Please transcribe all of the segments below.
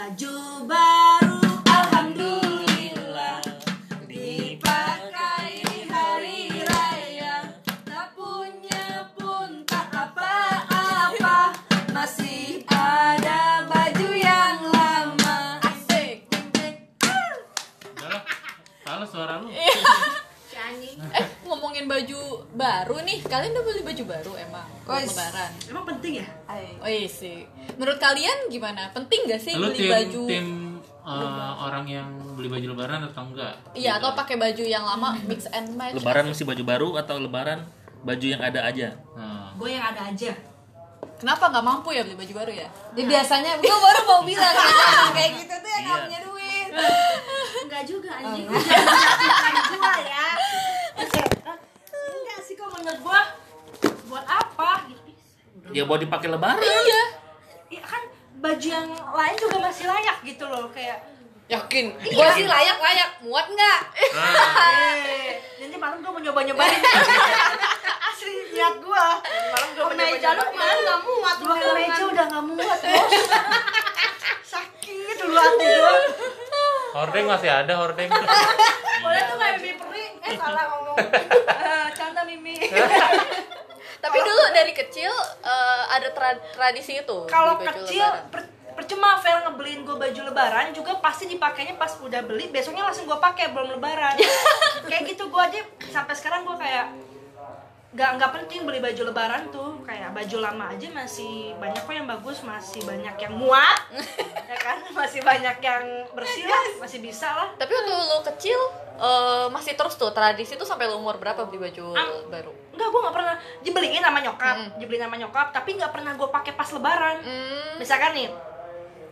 Baju baru alhamdulillah dipakai hari raya tak punya pun tak apa-apa masih ada baju yang lama asik Udah lah. Salah suara lu. Shani Eh, ngomongin baju baru nih. Kalian udah beli baju baru emang? buat Wes. Lebaran. emang penting ya Oh iya sih. Menurut kalian gimana? Penting gak sih Lu tim beli baju? tim eh, orang yang beli baju lebaran atau enggak? Iya, atau pakai baju yang lama mix and match. Lebaran mesti baju baru atau lebaran baju yang ada aja? Nah, gue yang ada aja Kenapa nggak mampu ya beli baju baru ya? Ya biasanya gue baru mau bilang kan, kayak gitu tuh ya nggak Iya. punya duit. Oh. enggak juga anjing Lu jangan menyalahkan gua ya enggak sih kok menurut gua buat apa Gitu. Ya buat dipakai lebaran. Iya. ya kan baju yang lain juga masih layak gitu loh kayak Yakin? Gue sih layak layak. Muat nggak? Ah. eh, nanti malam gua mau nyoba nyobain asli niat gua malam gua mau meja lu kemarin nggak muat gua kan. ke meja udah nggak muat bos sakit dulu hati gua hordeng masih ada hordeng. boleh tuh kayak mimpi peri eh salah ngomong Eh, canda mimi Tapi dulu dari kecil eh, ada tra- tradisi itu. kalau beli baju kecil lebaran. per- percuma Vel ngebeliin gue baju lebaran juga pasti dipakainya pas udah beli besoknya langsung gue pakai belum lebaran kayak gitu gue aja sampai sekarang gue kayak nggak nggak penting beli baju lebaran tuh kayak baju lama aja masih banyak kok yang bagus masih banyak yang muat ya kan masih banyak yang bersih lah masih bisa lah Tapi waktu lu kecil eh, masih terus tuh tradisi tuh sampai lu umur berapa beli baju Ah. baru? Enggak, gue nggak pernah dibeliin sama nyokap, Mm. dibeliin sama nyokap, tapi nggak pernah gue pakai pas lebaran. Hmm. misalkan nih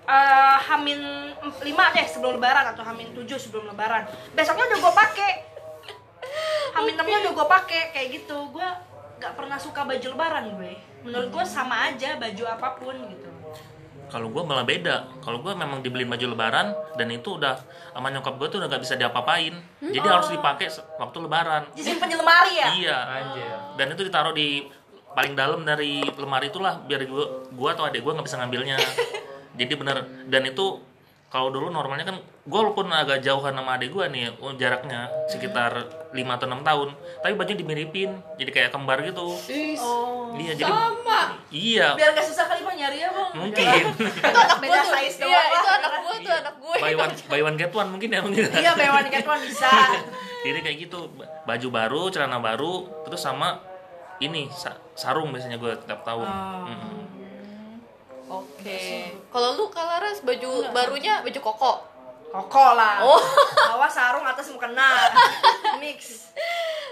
eh hamin 5 deh sebelum lebaran atau hamin 7 sebelum lebaran besoknya udah gue pakai hamin 6 nya udah gue pakai kayak gitu gue nggak pernah suka baju lebaran gue menurut Hmm. gue sama aja baju apapun gitu Kalau gua malah beda. Kalau gua memang dibeliin baju lebaran dan itu udah sama nyokap gua tuh udah gak bisa diapa-apain. Jadi harus dipakai se- waktu lebaran. disimpan di lemari ya Hmm. Iya. Anjir. Dan itu ditaruh di paling dalam dari lemari itulah biar gua, gua atau adik gua nggak bisa ngambilnya. Jadi bener. Dan itu kalau dulu normalnya kan gua walaupun agak jauhan sama adik gua nih oh, jaraknya sekitar 5 atau 6 tahun, tapi bajunya dimiripin. Jadi kayak kembar gitu. oh Iya, jadi Sama. iya. biar Oh, gak susah kali bang nyari ya bang Mungkin. Itu anak Beda gua tuh. size doang Iya, lah. itu anak gua tuh anak gue. buy one buy one get one mungkin ya mungkin iya bewan ikan tuan bisa jadi kayak gitu ba- baju baru celana baru terus sama ini sa- sarung biasanya gue tiap tahun Mm-mm. Oke. Kalau lu Kalaras baju barunya baju koko. koko lah Oh. bawah sarung atas mukena mix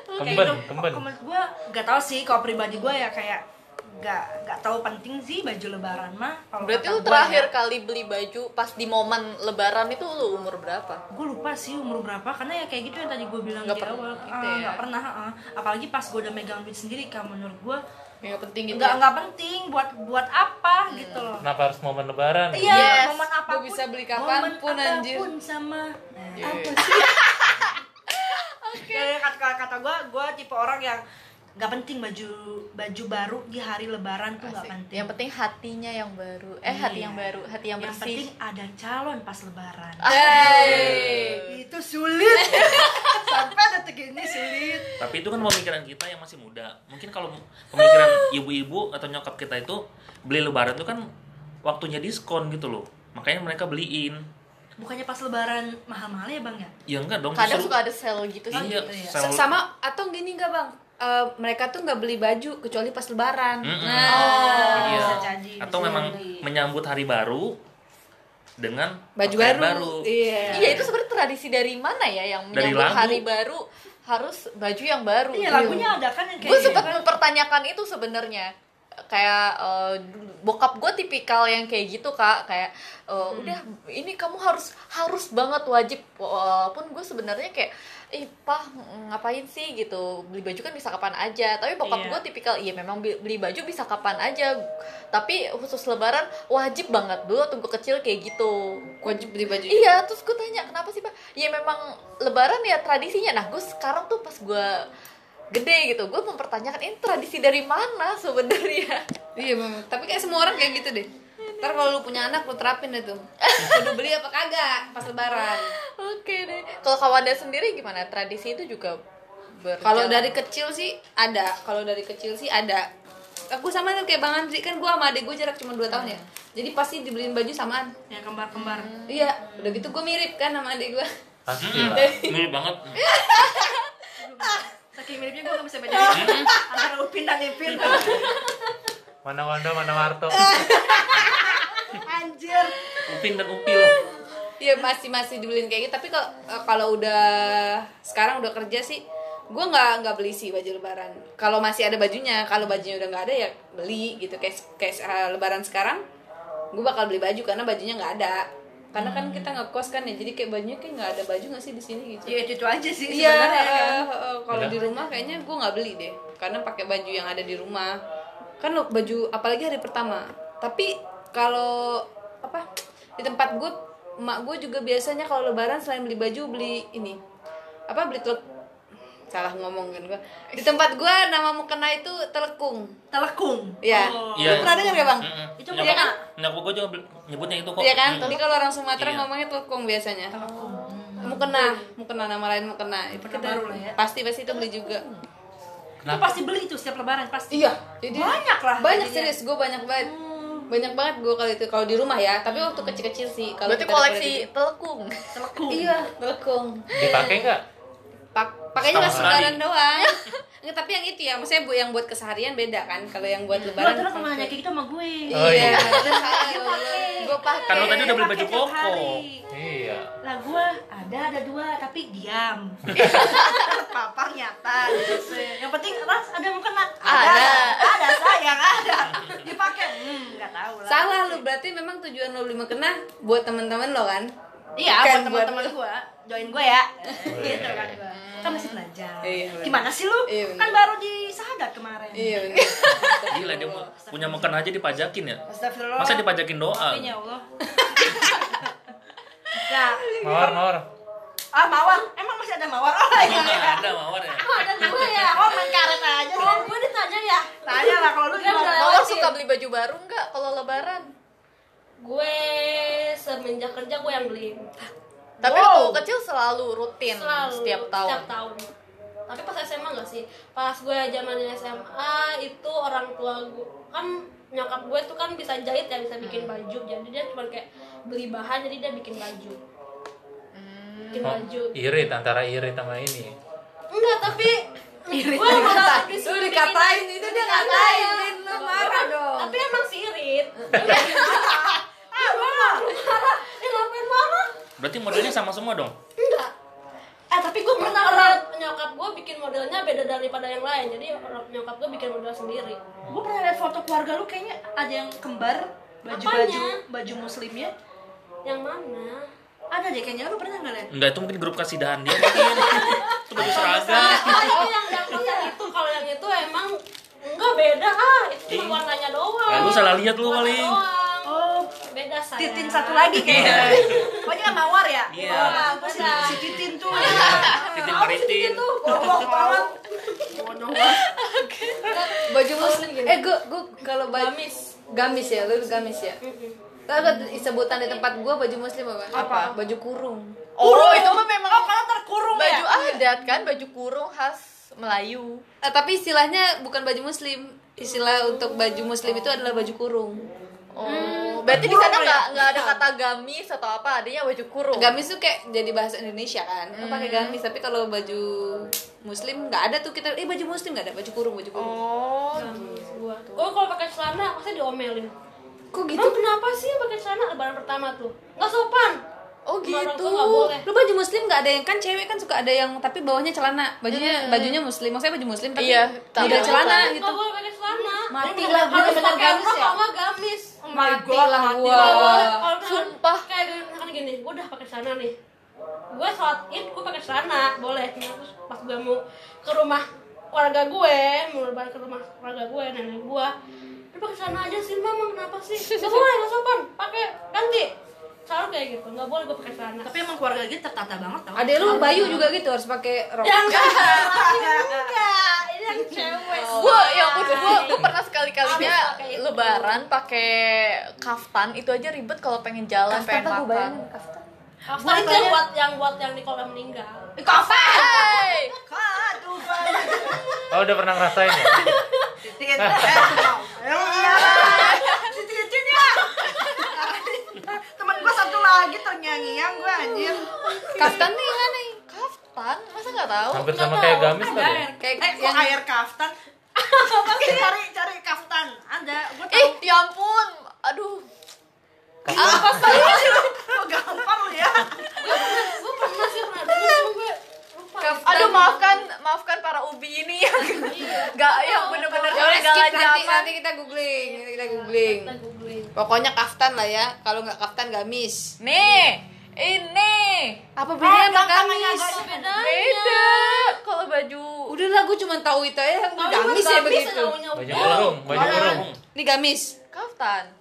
Kemben, kemben. Kalau menurut gue nggak tahu sih kalau pribadi gue ya kayak nggak nggak tahu penting sih baju lebaran mah kalau Berarti lu terakhir kali beli baju pas di momen lebaran itu lu umur berapa? gue ya, lupa sih umur berapa karena ya kayak gitu yang tadi gue bilang di Nggak pernah awal gitu Ah, ya. nggak pernah ah. apalagi pas gue udah megang duit sendiri kan menurut gue Ya Iya. penting nggak nggak penting buat buat apa gitu loh Kenapa harus momen lebaran? Iya, Yes, momen gua apapun, bisa beli kapanpun, momen anjir. apapun sama nah, Iya. apa sih? Ya, ya, kata kata gue, gue tipe orang yang nggak penting baju baju baru di hari lebaran tuh nggak penting. Yang penting hatinya yang baru. Eh hati Iya. yang baru, hati yang Yang penting bersih. Ah, ada calon pas lebaran. Hey. Itu sulit. Sampai detik ini sulit. tapi itu kan pemikiran kita yang masih muda mungkin kalau pemikiran ibu-ibu atau nyokap kita itu beli lebaran itu kan waktunya diskon gitu loh makanya mereka beliin Bukannya pas lebaran mahal-mahal ya, Bang ya? ya enggak dong Kadang justru- suka ada sale gitu sih. iya gitu ya. sel- sama atau gini nggak bang Eh, mereka tuh nggak beli baju kecuali pas lebaran Mm-mm. Nah. Iya. bisa jadi, atau bisa memang jadi. menyambut hari baru dengan baju pakaian baru, iya Iya itu sebenarnya tradisi dari mana ya yang Dari menyambut lagu. hari baru harus baju yang baru. Iya, lagunya ada kan yang kayak Gue gitu sempat kan. mempertanyakan itu sebenarnya kayak eh, bokap gue tipikal yang kayak gitu kak kayak eh, Hmm. udah ini kamu harus harus banget wajib walaupun gue sebenarnya kayak ih pah ngapain sih gitu beli baju kan bisa kapan aja tapi bokap Iya. gue tipikal iya memang bi- beli baju bisa kapan aja tapi khusus lebaran wajib banget dulu waktu gue kecil kayak gitu wajib beli baju Iya, terus gue tanya kenapa sih pak? Ya memang Lebaran ya tradisinya. Nah, gue sekarang tuh pas gue gede gitu, gue mempertanyakan ini tradisi dari mana sebenarnya? iya bang tapi kayak semua orang kayak gitu deh Ntar kalau lu punya anak lu terapin deh tuh. Kudu beli apa kagak pas lebaran. Oke deh. Kalau Kawanda sendiri gimana? Tradisi itu juga berjalan. Kalau dari kecil sih ada, kalau dari kecil sih ada. Aku sama tuh kayak Bang Andri kan gua sama adek gue jarak cuma 2 tahun ya. Jadi pasti dibeliin baju samaan. ya kembar-kembar Iya, udah gitu gue mirip kan sama adek gue. Pasti lah. mirip banget saking miripnya gue gak bisa bedain Hmm. antara upin dan ipin Mana Wanda, mana Warto. anjir upin dan upil Iya masih masih dibeliin kayak gitu. Tapi kalau eh, kalau udah sekarang udah kerja sih, gue nggak nggak beli sih baju lebaran. Kalau masih ada bajunya, kalau bajunya udah nggak ada ya beli gitu. Kayak kayak eh, lebaran sekarang, gue bakal beli baju karena bajunya nggak ada. Karena kan kita ngekos kan ya, jadi kayak bajunya kayak nggak ada baju nggak sih di sini gitu. ya itu, itu aja sih Iya, sebenarnya kan. eh, eh, kalau di rumah kayaknya gue nggak beli deh, karena pakai baju yang ada di rumah. Kan lo baju apalagi hari pertama. Tapi kalau apa di tempat gue, emak gue juga biasanya kalau lebaran selain beli baju beli ini apa beli telek salah ngomong kan gue di tempat gue nama mukena itu telekung telekung ya Oh. Iya. Lu pernah dengar gak bang Itu nyokap, punya kan? nyokap gue juga bel- nyebutnya itu kok iya kan tapi kalau orang Sumatera Iya. ngomongnya telekung biasanya telekung mukena mukena nama lain mukena itu Mukena kita baru lah ya. pasti pasti itu beli juga itu pasti beli tuh setiap lebaran pasti Iya, jadi Banyak lah Banyak jadinya. Hmm. serius, gue banyak banget. Banyak banget gue kalau itu kalau di rumah ya, tapi waktu kecil-kecil sih kalau berarti kita daripada koleksi di- telekung. telekung Iya, telekung. Dipakai nggak? Pak, Setahun pakainya pas lebaran sekali. doang. Nggak, tapi yang itu ya, maksudnya bu yang buat keseharian beda kan kalau yang buat lu lebaran. terus pernah nanya kayak gitu sama gue Oh, iya. Iya, gue pakai. kan lo tadi udah beli Pakai baju tiap koko hari. Iya. lah gua ada ada dua tapi diam terpapar nyata gitu. yang penting ras ada mungkin ada Ada. ada sayang ada dipakai hmm nggak tahu lah Salah lu berarti memang tujuan lo beli mukena buat teman-teman lo kan? iya Bukan buat teman-teman gua join gua ya gitu kan gua kan masih belajar Iya, benar. gimana sih lu Iya, benar. kan baru di sahadat kemarin Iya benar. gila dia mau- punya makan aja dipajakin ya Astagfirullah. masa dipajakin doa Maafin ya Allah. nah, Mawar, mawar. ah mawar, emang masih ada mawar? Oh iya. Nggak ada mawar ya Oh, ada gua ya. Oh, main karet aja. Oh, gue ditanya ya. Tanya lah kalau lu gimana? Mawar suka beli baju baru nggak kalau lebaran? gue semenjak kerja gue yang beli Hmm, Tapi Wow. waktu kecil selalu rutin selalu setiap tahun. tapi pas SMA nggak sih pas gue zaman SMA itu orang tua gue kan nyokap gue tuh kan bisa jahit ya bisa bikin Hmm. baju jadi dia cuma kayak beli bahan jadi dia bikin baju Hmm. bikin Oh, baju irit antara irit sama ini. enggak tapi Iya, gue emang tapi Lu dikatain itu dia ngatain, Lin. lu marah dong. Iya. tapi emang si irit ah gue marah ya ngapain marah berarti modelnya sama semua dong Enggak. Eh tapi gue pernah lihat nyokap gue bikin modelnya beda daripada yang lain. Jadi orang- nyokap gue bikin model sendiri. Gue pernah lihat foto keluarga lu kayaknya ada yang kembar baju-baju Apanya? baju muslimnya. Yang mana? Ada deh kayaknya lu pernah nggak lihat? Enggak itu mungkin grup kasidahan dia mungkin. itu baju seragam. Oh itu yang yang, yang itu kalau yang itu emang enggak beda ah itu cuma warnanya doang. Ya, lu salah lihat lu Warna paling. doang. Oh, Beda saya. Titin satu lagi kayaknya. Pokoknya kan mawar ya? Iya. Mawar, gua si, si Titin tuh. Iya. Titin Apa si Maritin. Titin tuh? Goblok banget. Bodoh banget. baju muslim eh gue gue kalau baju gamis gamis ya lu gamis ya Tahu gak sebutan di tempat gue baju muslim apa? Apa? Baju kurung. Oh, Kurung. itu mah Oh, memang kalau terkurung ya? baju adat kan, baju kurung khas Melayu. Eh, tapi istilahnya bukan baju muslim. Istilah untuk baju muslim itu adalah baju kurung. Oh, Hmm, berarti di sana Kurung ya? nggak nggak ada kata gamis atau apa, adanya baju kurung. Gamis tuh kayak jadi bahasa Indonesia kan. Lu pakai gamis tapi kalau baju muslim nggak ada tuh kita eh baju muslim nggak ada baju kurung baju kurung. Oh, Gua Gua kalau pakai celana pasti diomelin. Kok gitu? Emang kenapa sih pakai celana lebaran pertama tuh? Enggak sopan. oh Sama orang gitu. tua nggak boleh. Lu baju muslim nggak ada yang kan cewek kan suka ada yang tapi bawahnya celana. Bajunya bajunya muslim. Maksudnya baju muslim tapi Iya, tidak tapi- celana Nggak gitu. boleh pakai celana. Mati Harus lah, harus bener-bener pakai gamis rok ya? sama gamis. my Mati God, lah mati gua. Kalau Sumpah. kayak gini, misalkan gini gue udah pakai celana nih gue sholat id gue pakai celana boleh Cuma terus pas gue mau ke rumah keluarga gue mau lebaran ke rumah keluarga gue nenek gue lu pakai celana aja sih mama kenapa sih nggak boleh nggak sopan pakai ganti selalu kayak gitu nggak boleh gue pakai celana Tapi emang keluarga gitu tertata banget tau. Ada lu Bayu juga gitu harus pakai rok. ya enggak Enggak. enggak ini kan cewek gue ya aku gue Say. gue pernah sekali kalinya Abis pakai itu. lebaran pakai kaftan itu aja ribet kalau pengen jalan pengen makan Kaftan itu yang buat yang buat yang Nikola meninggal Hey! Aduh, banyak. Oh udah pernah ngerasain ya? Tiket. Eh, Ayo, iya. Tiket-tiket ya. Temen gua satu lagi ternyanyi-yang gua anjir. Kaftan nih gimana nih? kaftan masa nggak tahu Hampir sama kayak gamis Ada tadi. ya? air. Kayak Eh, kok yang- air kaftan? Oke, cari cari kaftan. Ada. Gua tahu. ih ya ampun aduh Kok gampang lu ya? gue pernah sih pernah dulu cuma gue lupa aduh maafkan maafkan para ubi ini yang nggak yang bener-bener Ya udah Iya. skip ketinggalan nanti, zaman. nanti kita googling, nanti kita googling. Kita googling Pokoknya kaftan lah ya. Kalau nggak kaftan gamis. Eh, nih ini Apa bedanya sama tangannya gamis? agak- beda kalau baju Udah lah, gue cuma tahu itu aja yang gamis ya begitu. Baju kurung, baju kurung. Ini gamis. kaftan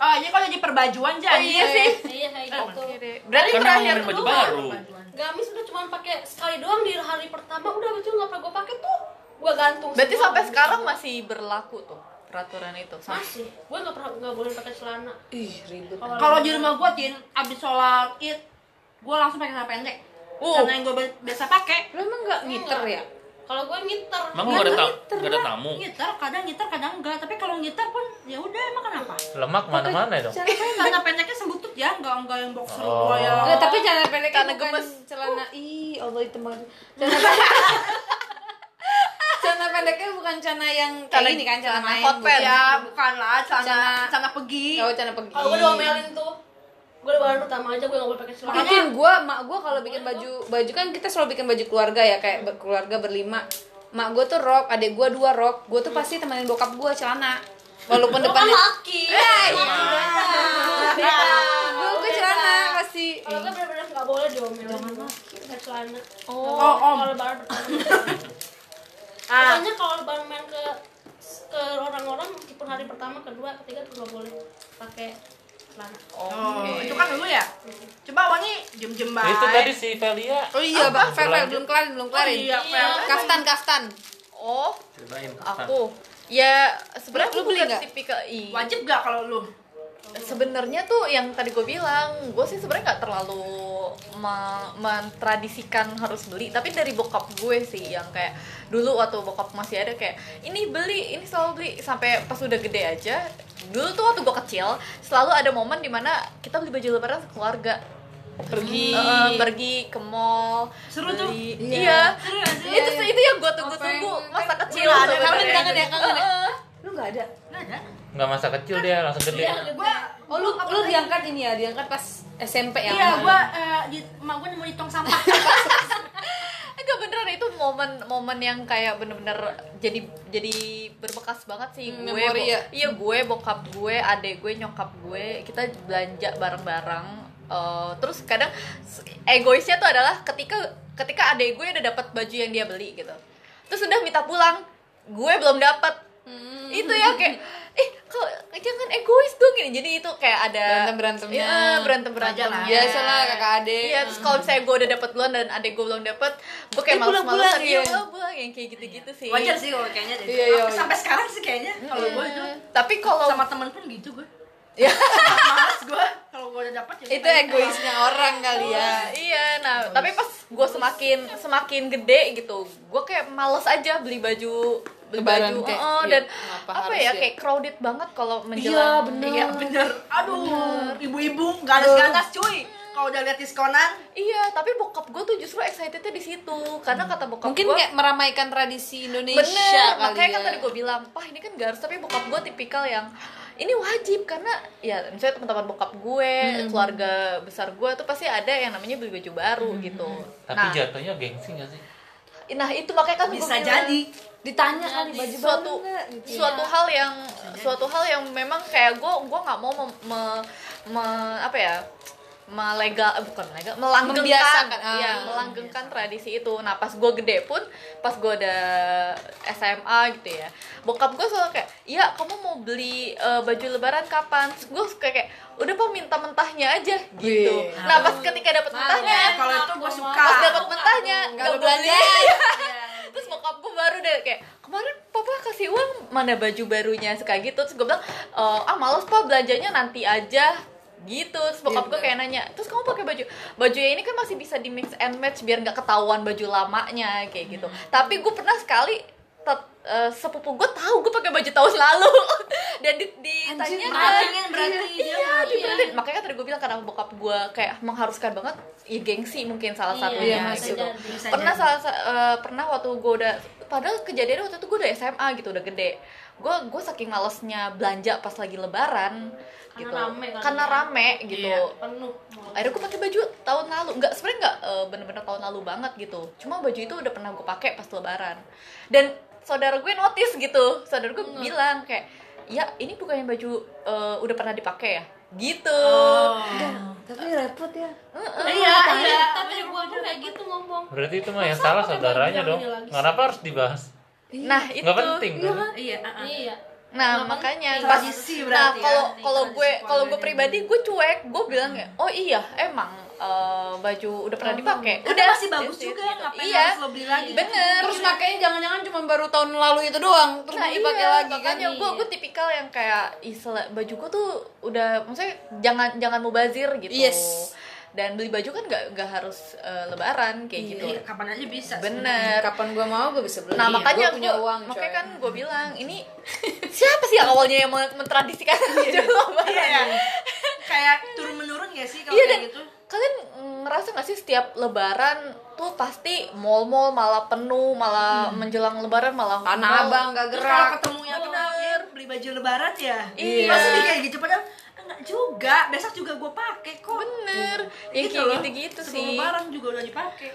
Oh, ini kalau jadi perbajuan aja. oh, iya sih iya kayak gitu berarti Kan terakhir ngomongin baju kedua baru. kan? Iya. gamis udah cuma pakai sekali doang di hari pertama udah baju nggak pernah gue pakai tuh gue gantung berarti semua. sampai sekarang masih berlaku tuh peraturan itu Sampai- masih gue nggak pernah nggak boleh pakai celana Ih, ribet. Kalau di rumah gua Tin, abis sholat id, gua langsung pakai celana pendek. Uh. Celana yang gua bi- biasa pakai. Lu emang nggak ngiter ya? kalau gue ngiter Emang gak ada, ta- nggak ada tamu? Ngiter, kadang ngiter, kadang enggak. Tapi kalau ngiter pun ya udah emang kenapa? Lemak mana-mana dong. Celana pendeknya sembutut ya, enggak enggak yang boxer Oh. gua ya. yang Nggak, tapi celana pendek Karena karena gemes gemes. Oh. celana ih Allah itu mah celana pendek celana pendeknya bukan celana yang kayak Celana- gini kan celana celana yang hot pants. Ya, bukan lah, celana Celana- celana pegi. kalau celana pergi kalau gue diomelin tuh gue lebaran pertama aja gue nggak boleh pakai celana bikin gua mak gua kalau bikin baju baju kan kita selalu bikin baju keluarga ya kayak ber- keluarga berlima mak gua tuh rok adik gua dua rok gua tuh pasti temenin bokap gua celana Oh, walaupun Lo kan depannya laki Beda. gua oh, iya. gua celana pasti kalau Iya. gue bener-bener nggak boleh diomelin pakai celana oh, om. Ah. kalau lebaran pertama Pokoknya kalau lebaran main ke ke orang-orang meskipun hari pertama, kedua, ketiga tuh gak boleh pakai celana. Oh, itu kan dulu ya. Coba wangi jem-jem baik. Nah, Itu tadi si Velia. Oh iya, Bang, Fel, Fel, belum kelarin, belum Oh, kelarin. iya, Fel. Kaftan, kaftan. oh Ceritain. aku ya sebenarnya Lu- lu aku beli bukan nggak? tipikal Iya. i Wajib gak kalau lu? sebenarnya tuh yang tadi gue bilang gue sih sebenarnya nggak terlalu me- mentradisikan harus beli tapi dari bokap gue sih yang kayak dulu waktu bokap masih ada kayak ini beli ini selalu beli sampai pas udah gede aja dulu tuh waktu gue kecil selalu ada momen dimana kita beli baju lebaran keluarga Pergi. Eh, pergi ke mall Seru tuh. beli- Iya. iya, Seru gak sih? Kan itu sih itu yang gue tunggu-tunggu Apa yang- masa kecil Udah ada, sebenarnya. Kangen, kangen Iya, ya, kangen ya. Eh, Lu nggak ada? Nggak ada. Nggak masa kecil dia, langsung gede. Iya. Gua Oh lu lu diangkat ini ya, diangkat pas SMP ya? Iya, gitu. gua eh, di emak gua nemu di tong sampah. Enggak beneran itu momen-momen yang kayak bener-bener jadi jadi berbekas banget sih Hmm, gue. memori bo- ya. Iya gue, bokap gue, adek gue, nyokap gue, kita belanja bareng-bareng. Eh, terus kadang s- egoisnya tuh adalah ketika ketika adek gue udah dapat baju yang dia beli gitu. Terus udah minta pulang, gue belum dapat. Hmm. Itu ya kayak eh kok jangan egois dong gini. Jadi itu kayak ada Iya, Berantem-berantemnya. berantem berantemnya. Biasa lah, kakak adik. Iya, terus kalau misalnya gue udah dapet duluan dan adek gue belum dapet gue kayak Eh, males-malesan pulang-pulang iya ya? pulang-pulang yang kayak gitu-gitu sih Wajar sih kalau kayaknya deh. Iya, iya, Sampai sekarang sih kayaknya kalau gua itu tapi kalau Iya. sama temen pun gitu gua. Iya. Males gua kalau gua udah dapat ya. Itu egoisnya orang kali ya. iya nah tapi pas gue semakin semakin gede gitu gue kayak males aja beli baju beli Lebaran baju kayak, oh, iya, dan kenapa apa harus ya ya? kayak crowded banget kalau menjelang Iya, bener. Aduh, ibu-ibu ganas-ganas cuy. Kalau udah lihat diskonan, iya tapi bokap gue tuh justru excitednya di situ karena kata bokap Mungkin gue kayak meramaikan tradisi Indonesia Bener, kali makanya kan ya. tadi gue bilang, pah ini kan gak harus, tapi bokap gue tipikal yang ini wajib karena ya misalnya teman-teman bokap gue, keluarga besar gue tuh pasti ada yang namanya beli baju baru gitu. Nah, Tapi jatuhnya gengsi nggak sih? nah itu makanya kan gua bisa bilang, jadi. ditanya kali baju Nah, suatu baru nggak, gitu. suatu hal yang suatu hal yang memang kayak gue gue nggak mau mem, me- me- apa ya melegal eh, bukan melegal melanggengkan Membiasakan, ah. ya melanggengkan tradisi itu nah pas gue gede pun pas gue udah SMA gitu ya bokap gue selalu kayak iya kamu mau beli eh, baju lebaran kapan gue kayak kayak udah pak minta mentahnya aja gitu Wih. ya. nah pas ketika dapet mentahnya Nah, Kalau itu gua suka. pas dapet mentahnya iya. Ah, nggak nggak ada gue beli belanja Iya. terus bokap gue baru deh ada kayak kemarin papa kasih uang mana baju barunya suka gitu terus gue bilang "E, ah males pak belanjanya nanti aja gitu terus bokap gue kayak nanya terus kamu pakai baju baju yang ini kan masih bisa di mix and match biar nggak ketahuan baju lamanya kayak gitu tapi gue pernah sekali tet- eh, sepupu gue tahu gue pakai baju tahun lalu dan di, ditanya Iya, Mancingin Ah, berarti dia iya mancing. dibeliin makanya kan tadi gue bilang karena bokap gue kayak mengharuskan banget ya gengsi mungkin salah Iya, satunya bisa gitu jadi, bisa pernah salah sa- eh, pernah waktu gue udah padahal kejadiannya waktu itu gue udah SMA gitu udah gede gue gue saking malesnya belanja pas lagi lebaran Karena gitu rame kali karena ya. rame gitu penuh akhirnya gue pakai baju tahun lalu nggak sebenarnya nggak eh, bener-bener tahun lalu banget gitu cuma baju itu udah pernah gue pakai pas lebaran dan saudara gue notice gitu saudara gue Hmm. bilang kayak ya ini bukannya baju eh, udah pernah dipakai ya gitu Oh. Tapi repot ya. Eh, iya iya tapi gue tuh kayak gitu ngomong Berarti itu mah yang Masa salah aku nggak saudaranya bilang dong. ini lagi sih? Kenapa harus dibahas? nah itu Nggak penting. kan? Iya, uh-uh. iya nah Nggak makanya penting. pas Tradisi nah berarti ya. kalau kalau Tradisi Hmm. gue kalau gue keluarganya. pribadi gue cuek gue bilang ya oh iya emang eh, baju udah pernah dipakai Hmm. Karena udah masih bagus gitu, juga, gitu. ngapain iya harus lo beli lagi? bener Terus makanya jangan-jangan cuma baru tahun lalu itu doang, terus Nah, mau dipakai iya, lagi kan. makanya gue gue tipikal yang kayak "Ih, sele- baju gue tuh udah maksudnya jangan jangan mubazir gitu Yes. dan beli baju kan nggak nggak harus eh, lebaran kayak gitu Iya, kapan aja bisa. bener Kapan gua mau gua bisa beli. nah Iya, Gua makanya punya gua- uang, makanya coy. kan gue bilang ini siapa sih yang awalnya yang men- mentradisikan baju lebaran ya? Iya. kayak turun menurun gak sih kalau Iya, kayak dan- gitu? kalian ngerasa gak sih setiap lebaran tuh pasti mall-mall malah penuh malah menjelang lebaran malah Hmm. Tanah mall- Abang gak Terus gerak. kalau ketemu yang benar beli baju lebaran ya. Iya. Pasti kayak gitu padahal enggak juga. Besok juga gue pakai kok. bener ya Gitu kayak loh. gitu-gitu Sebelum sih lebaran juga udah dipakai.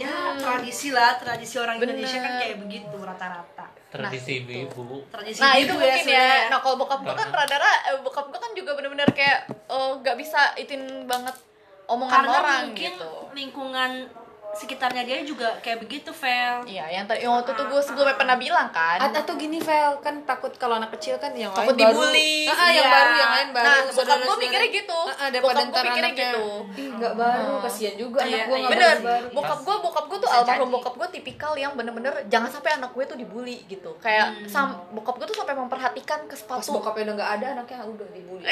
Ya, tradisi lah, tradisi orang Bener. Indonesia kan kayak begitu rata-rata. Tradisi ibu-ibu. Tradisi Iya nah itu gitu mungkin ya, sebenarnya. nah kalau bokap gue kan rada-rada eh, bokap gue kan juga bener-bener kayak eh, nggak bisa itin banget omongan karena orang mungkin gitu lingkungan sekitarnya dia juga kayak begitu, Fel. iya yang tadi yang waktu itu gue sebelumnya pernah bilang kan At- atau gini Vel kan takut kalau anak kecil kan yang takut lain baru- dibully Ah, ah, yang iya. baru yang lain baru nah bokap saudara-saudara. gue mikirnya gitu Ah, ah, daripada bokap gue ntar mikirnya anaknya, gitu "Ih, nggak baru kasihan juga anak Iya, gua iya. nggak bener baru bokap gue bokap gue tuh Bisa almarhum jadi. bokap gue tipikal yang bener-bener jangan sampai anak gue tuh dibully gitu kayak sam- bokap gue tuh sampai memperhatikan ke Hmm. pas sepatu bokapnya udah nggak ada anaknya udah dibully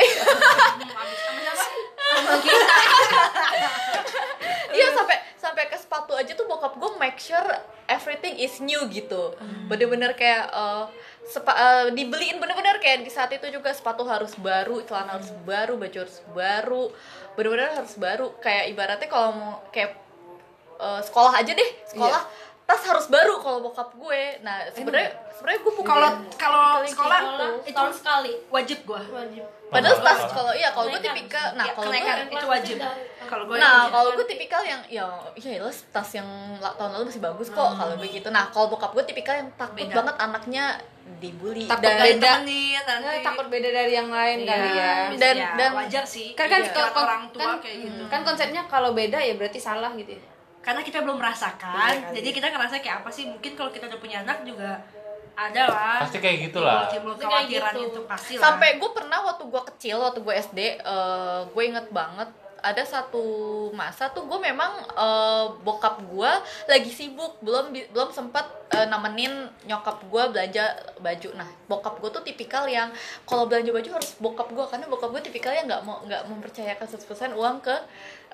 Iya sampai sampai ke sepatu aja tuh bokap gue make sure everything is new gitu. Bener-bener kayak eh, sepa, eh, dibeliin bener-bener kayak di saat itu juga sepatu harus baru, celana harus baru, baju harus baru, bener-bener harus baru. Kayak ibaratnya kalau mau kayak eh, sekolah aja deh, sekolah tas harus baru kalau bokap gue. Nah sebenarnya sebenarnya gue bukan Kalau kalau sekolah sekolah Oh, itu tahun sekali wajib gua. wajib padahal Mana tas parah. kalau iya kalau gue Kenaikan. tipikal nah Ya, kalau gue kenaikan itu wajib. Kalau gue Nah, kalau gue tipikal yang ya ya jelas tas yang la- tahun lalu masih bagus kok kalau begitu. Nah, kalau bokap gue tipikal yang takut Beda. banget anaknya dibully Takut dan kali. beda. temenin nanti Iya, Nggak, takut beda dari yang lain kali ya Habis Iya. Dan- ya, dan- wajar sih kan kan Iya. kalau Kalau orang tua kan, kayak gitu kan konsepnya kalau beda ya berarti salah gitu ya karena kita belum merasakan Iya jadi kita ngerasa kayak apa sih mungkin kalau kita udah punya anak juga ada lah Pasti kayak gitulah. timbul Pasti kayak khawatiran gitu. itu pasti lah sampai gue pernah waktu gue kecil waktu gue SD eh, gue inget banget ada satu masa tuh gue memang eh, bokap gue lagi sibuk belum bi- belum sempat eh, nemenin nyokap gue belanja baju nah bokap gue tuh tipikal yang kalau belanja baju harus bokap gue karena bokap gue tipikal yang nggak mau nggak mempercayakan 100% uang ke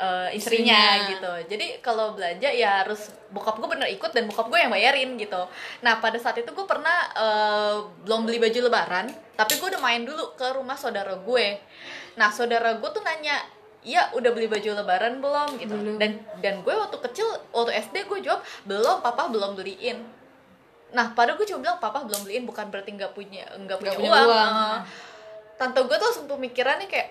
eh, istrinya, Istrinya. gitu jadi kalau belanja ya harus bokap gue bener ikut dan bokap gue yang bayarin gitu nah pada saat itu gue pernah eh, belum beli baju lebaran tapi gue udah main dulu ke rumah saudara gue nah saudara gue tuh nanya Iya, udah beli baju lebaran belum gitu. Dan dan gue waktu kecil, waktu SD gue jawab, "Belum, papa belum beliin." Nah, padahal gue cuma bilang papa belum beliin bukan berarti nggak punya nggak punya, Nggak punya uang. uang. Eh, Tante gue tuh langsung pemikirannya kayak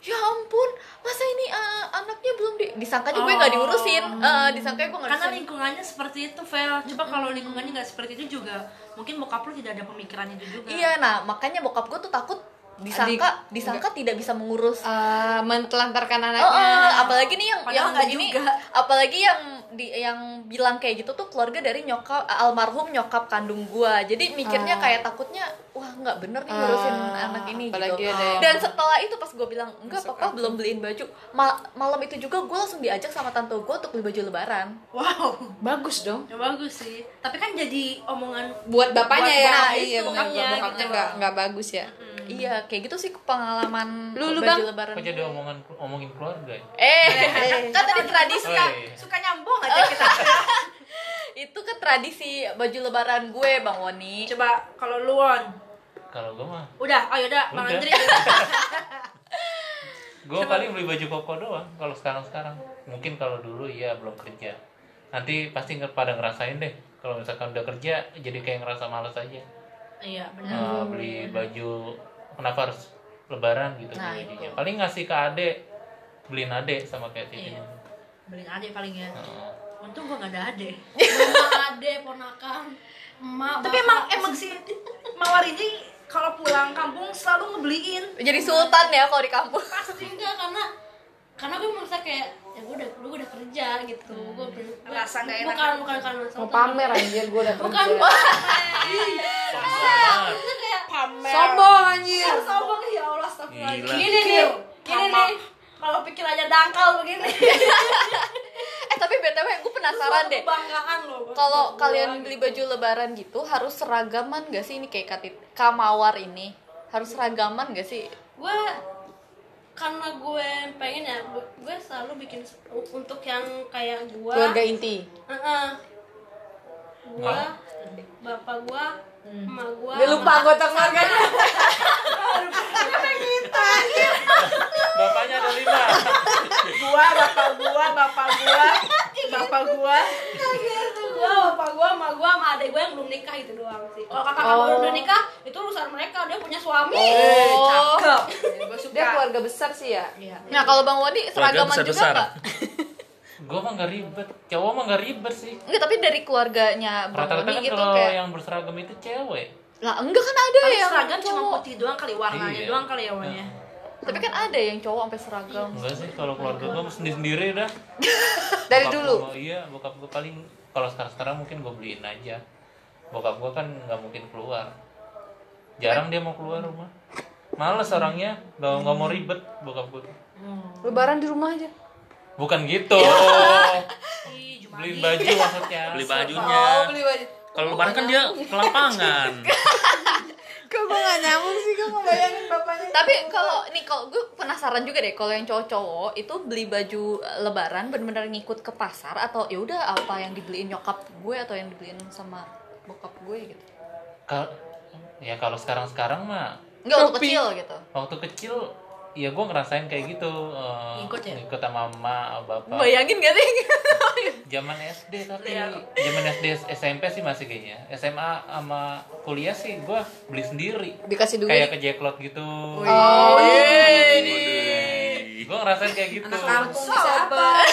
ya ampun, masa ini eh, anaknya belum di disangkanya gue nggak diurusin, Eh, disangkanya gue nggak karena diurusin. lingkungannya seperti itu Vel coba kalau lingkungannya nggak seperti itu juga mungkin bokap lu tidak ada pemikiran itu juga Iya, nah makanya bokap gue tuh takut disangka disangka tidak bisa mengurus Eh, mentelantarkan Oh, anaknya oh, apalagi nih yang Padahal yang nggak begini, juga. apalagi yang di yang eh, bilang kayak gitu tuh keluarga dari nyokap almarhum nyokap kandung gua. Jadi mikirnya kayak takutnya, uh wah nggak bener nih ngurusin Ah, anak ini apalagi gitu ada yang- dan setelah itu pas gue bilang enggak Masuk papa akal. belum beliin baju ma- malam itu juga gue langsung diajak sama tante gue untuk beli baju lebaran wow Bagus dong. ya bagus sih tapi kan jadi omongan Buat bapaknya Buat ya. bapak iya, itu, benar. Buat iya, bapaknya gitu. nggak nggak bagus ya. iya kayak gitu sih pengalaman Lu- lu, baju Bang? lebaran Kok jadi omongan omongin keluarga ya? eh kan tadi tradisi Oh, iya. suka nyambung aja kita itu kan tradisi baju lebaran gue bang Woni coba kalau lu Won Kalau gue mah, udah ayo dah bang Udah. Andri gue paling beli baju koko doang. Kalau sekarang sekarang, mungkin kalau dulu ya belum kerja. Nanti pasti nge- pada ngerasain deh. Kalau misalkan udah kerja, jadi kayak ngerasa males aja. iya benar Nah, Eh, beli baju, kenapa harus lebaran gitu Nah, beli bajunya. itu. Paling ngasih ke ade, beliin ade sama kayak titik. Iya. beliin adik paling ya Heeh. untung gua nggak ada adik ade ponakan emak tapi emang emang si Mawar ini kalau pulang kampung selalu ngebeliin jadi sultan ya kalau di kampung pasti enggak karena karena gue merasa kayak ya gue udah gue udah kerja gitu gue ber- Rasa nggak enak. bukan bukan karena Mau sultan. pamer anjir gue udah bukan kerja. Banget. itu kayak pamer Sombong Iya, anjir. sombong ya Allah astagfirullah Gila. ini nih ini Tamak. nih kalau pikir aja dangkal begini eh tapi btw gue penasaran Suatu deh kebanggaan loh buat kalau gua gitu. kalian beli baju lebaran gitu harus seragaman gak sih ini kayak katit kamawar ini harus seragaman gak sih gue karena gue pengen ya bu- gue selalu bikin se- untuk yang kayak gue Keluarga inti. Heeh. gue bapak gue emak gue Dia lupa anggota keluarganya. Bapaknya ada lima. gua bapak gua bapak gua bapak gua gue bapak gue emak gue sama adek gue yang belum nikah gitu doang sih kalau kakak kakak Oh. udah nikah itu urusan mereka dia punya suami Oh. cakep gua suka Dia keluarga besar sih ya. Iya. nah kalau bang Wadi seragaman juga besar-besar. nggak gue mah nggak ribet. Cowok mah nggak ribet sih. Enggak, tapi dari keluarganya bang Rata-rata Wadi kan itu kalau gitu kayak yang berseragam itu cewek. lah enggak kan ada Paling yang seragam cuma cowok. putih doang kali warnanya Iya. doang kali ya warnanya tapi kan ada yang cowok sampai seragam Enggak sih, kalau keluarga gue sendiri-sendiri udah. Dari Bokap dulu. gua- iya, bokap gue paling kalau sekarang-sekarang mungkin gue beliin aja. Bokap gue kan nggak mungkin keluar. Jarang dia mau keluar rumah. Males orangnya, nggak nggak mau ribet bokap gue. Hmm. Lebaran di rumah aja. Bukan gitu. Ih, cuma Beliin baju maksudnya. beli bajunya Oh, beli baju. kalau lebaran kan dia ke lapangan Kok gue gak nyambung sih, gue ngebayangin bapaknya tapi kalau nih kalau gue penasaran juga deh kalau yang cowok-cowok itu beli baju eh, lebaran bener-bener ngikut ke pasar atau ya udah apa yang dibeliin nyokap gue atau yang dibeliin sama bokap gue gitu Kal- ya kalau sekarang-sekarang mah enggak waktu kecil gitu waktu kecil ya gue ngerasain kayak gitu eh, Ngikut ya? ngikut sama mama bapak bayangin gak sih zaman SD tapi Iya. zaman SD SMP sih masih kayaknya SMA sama kuliah sih gua beli sendiri Dikasih duit. kayak ke Jacklot gitu Iya. Oh, Waduh. gua ngerasain kayak gitu kampung bisa bang.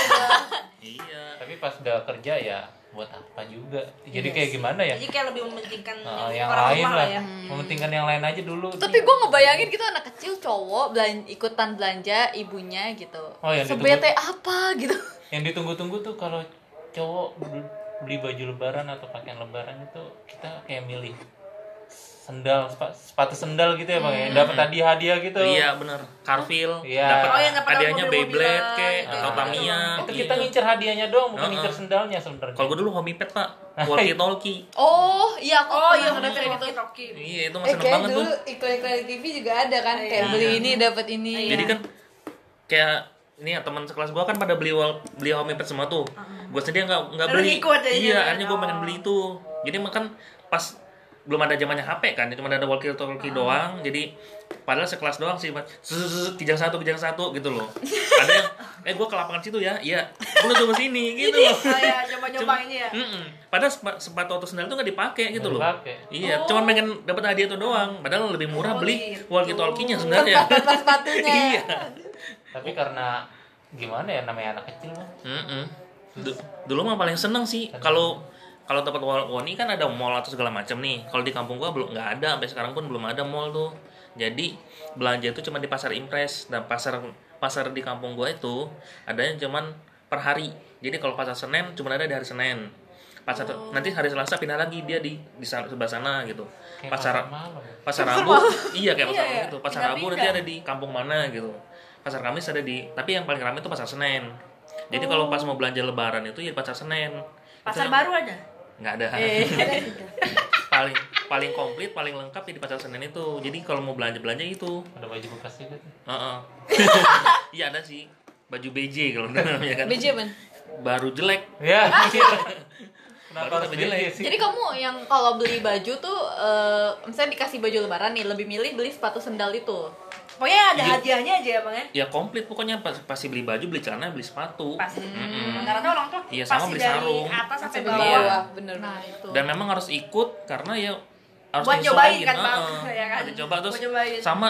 iya tapi pas udah kerja ya buat apa juga Iya jadi kayak gimana ya jadi kayak lebih mementingkan Nah, yang orang lain rumah lah ya mementingkan yang lain aja dulu tapi gue ngebayangin gitu anak kecil cowok belan- ikutan belanja ibunya gitu Oh, yang sebete apa gitu yang ditunggu-tunggu tuh kalau cowok bel- beli baju lebaran atau pakaian lebaran itu kita kayak milih sendal sepa- sepatu sendal gitu ya bang ya dapat hadiah hadiah gitu Hmm. iya bener Carville Iya. dapat Oh, yang dapat hadiahnya mobil-mobilan, Beyblade kek gitu. atau Tamiya itu gitu. kita ngincer hadiahnya doang bukan Heeh. ngincer sendalnya sebenarnya kalau gue dulu homie pet pak walkie talkie oh iya aku oh pernah iya udah kayak ngeliat kayak gitu gitu toki iya itu Eh, masih seneng kayak banget dulu tuh iklan-iklan di TV juga ada kan, kayak beli ini dapat ini. Iya. jadi Iya. kan kayak ini ya teman sekelas gue kan pada beli wal- beli homie pet semua tuh gue sendiri nggak nggak Lu beli ngikut jadinya, iya ya? akhirnya gue pengen beli itu jadi makan pas belum ada zamannya HP kan cuma ada walkie talkie doang jadi padahal sekelas doang sih Zzzz, kijang satu kijang satu gitu loh ada yang eh gue ke lapangan situ ya iya lu coba sini gitu loh oh ya nyoba-nyoba Cuma- ini ya Mm-mm. Padahal sepa- sepatu atau sandal itu nggak dipakai gitu loh. dipakai. Iya, cuman pengen dapat hadiah itu doang. Padahal lebih murah Oh, beli gitu. walkie talkie-nya sebenarnya. Pas sepatunya. iya. tapi karena gimana ya namanya anak kecil Bang. Mm-mm. Du- dulu mah paling seneng sih kalau kalau tempat wal- woni kan ada mall atau segala macam nih. Kalau di kampung gua belum nggak ada sampai sekarang pun belum ada mall tuh. Jadi belanja itu cuma di pasar impres dan pasar pasar di kampung gua itu adanya cuman per hari. Jadi kalau pasar Senen cuma ada di hari Senin. pasar nanti hari Selasa pindah lagi dia di di sana- sebelah sana gitu Kayak ya. pasar pasar malam. pasar Rabu iya kayak pasar Iya, Rabu gitu pasar Rabu nanti ada di kampung mana gitu pasar Kamis ada di tapi yang paling ramai itu pasar Senen jadi kalau pas mau belanja Lebaran itu ya di pasar Senen Itu Oh. Pasar yang- baru Eh. ada? nggak ada paling paling komplit paling lengkap ya di pasar Senen itu jadi kalau mau belanja belanja itu Ada baju bekas juga. tuh. Heeh. iya ada sih baju BJ kalau namanya kan BJ man baru jelek Ya. Baru Kenapa harus tapi jelek. beda sih? Jadi kamu yang kalau beli baju tuh, eh, misalnya dikasih baju lebaran nih, lebih milih beli sepatu sendal itu. Pokoknya ada hadiahnya aja ya bang ya? ya komplit pokoknya pas- pasti beli baju beli celana beli sepatu Pasti. Mm-mm. Rata-rata orang tuh Iya, sama pasti beli dari sarung. atas sampai sampai bawah. bawah bener Nah itu. dan memang harus ikut karena ya harus Buat disesuaiin, nyobain kan, Bang? heeh. Ya kan? Buat dicoba terus Buat nyobain. sama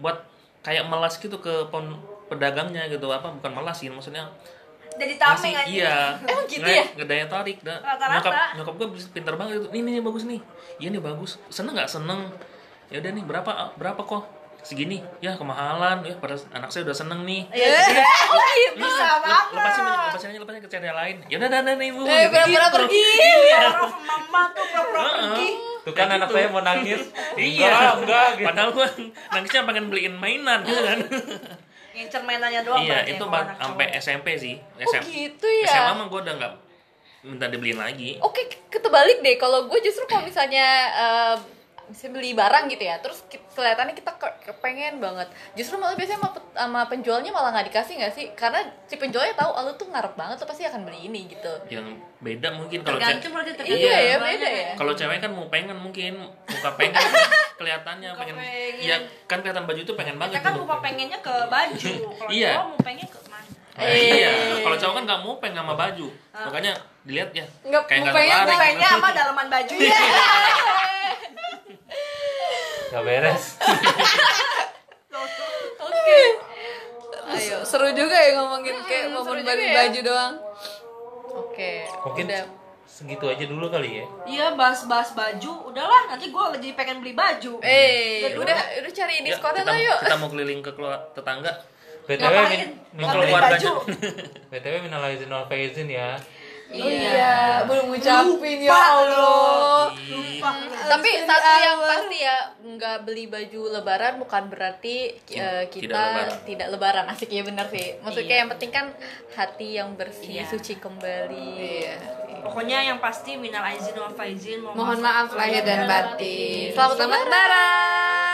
buat kayak melas gitu ke pon pedagangnya gitu apa bukan melas sih maksudnya Jadi kan? tameng aja. iya Emang gitu Nge- ya? ngedaya tarik dah Rata-rata. nyokap nyokap gue pinter banget itu ini nih bagus nih iya nih bagus seneng nggak seneng ya udah nih berapa berapa kok segini ya kemahalan ya pada anak saya udah seneng nih Iya, Oh gitu. bisa Lep- banget. lepasin aja, lepasin aja lepasin aja ke cara lain ya udah udah, udah nih ibu Eh, gitu. pura-pura pergi. Orang mama tuh pura-pura pergi. Tuh kan anak saya mau nangis. Iya, Enggak, enggak gitu. Padahal gua nangisnya pengen beliin mainan gitu kan. Ngincer mainannya doang. iya, berarti itu kalau ba- anak sampai cowok. SMP sih. Oh SM gitu SMA ya. mah gua udah nggak minta dibeliin lagi. Oke, ketebalik deh. Kalau gue justru kalau misalnya eh, misalnya beli barang gitu ya, terus ki- kelihatannya kita ke- kepengen banget. Justru malah biasanya sama, pe- sama penjualnya malah nggak dikasih nggak sih? Karena si penjualnya tahu, oh, lu tuh ngarep banget, tuh pasti akan beli ini gitu. Yang beda mungkin kalau Tergantung cewek berarti tergantung. Iya ya, orangnya beda ya. kalau cewek kan mau pengen mungkin muka pengen kelihatannya pengen, pengen. Iya, kan kelihatan baju itu pengen banget Kita kan gitu. lupa pengennya ke baju. Kalau Iya. cowok mau pengen ke mana? Nah, iya, kalau cowok kan nggak mau pengen sama baju. Makanya dilihat ya Nggak, kayak nggak mukanya- tertarik. Pengennya apa dalaman bajunya? Enggak beres. ayo seru juga ya ngomongin kayak Hmm, momen seru juga baju ya. baju doang Oke. Mungkin Udah. segitu aja dulu kali ya. Iya, bahas-bahas baju. Udahlah, nanti gue jadi pengen beli baju. Eh, Udah. udah, udah cari Ya, diskonnya kita, lah yuk. kita mau keliling ke keluar tetangga. BTW Ngapain? min- Mau minal beli aidin- keluarganya. baju. BTW minal aidin wal faizin ya. oh iya belum ngucapin ya allah Iya. Lupa. Tapi satu yang pasti ya nggak beli baju lebaran bukan berarti eh, Tidak kita lebaran. tidak lebaran. Asik ya benar sih. Maksudnya Iya. yang penting kan hati yang bersih, suci kembali. Iya. Pokoknya yang pasti minal aizin wal faizin. mohon maaf lahir dan batin Selamat, Iya. lebaran.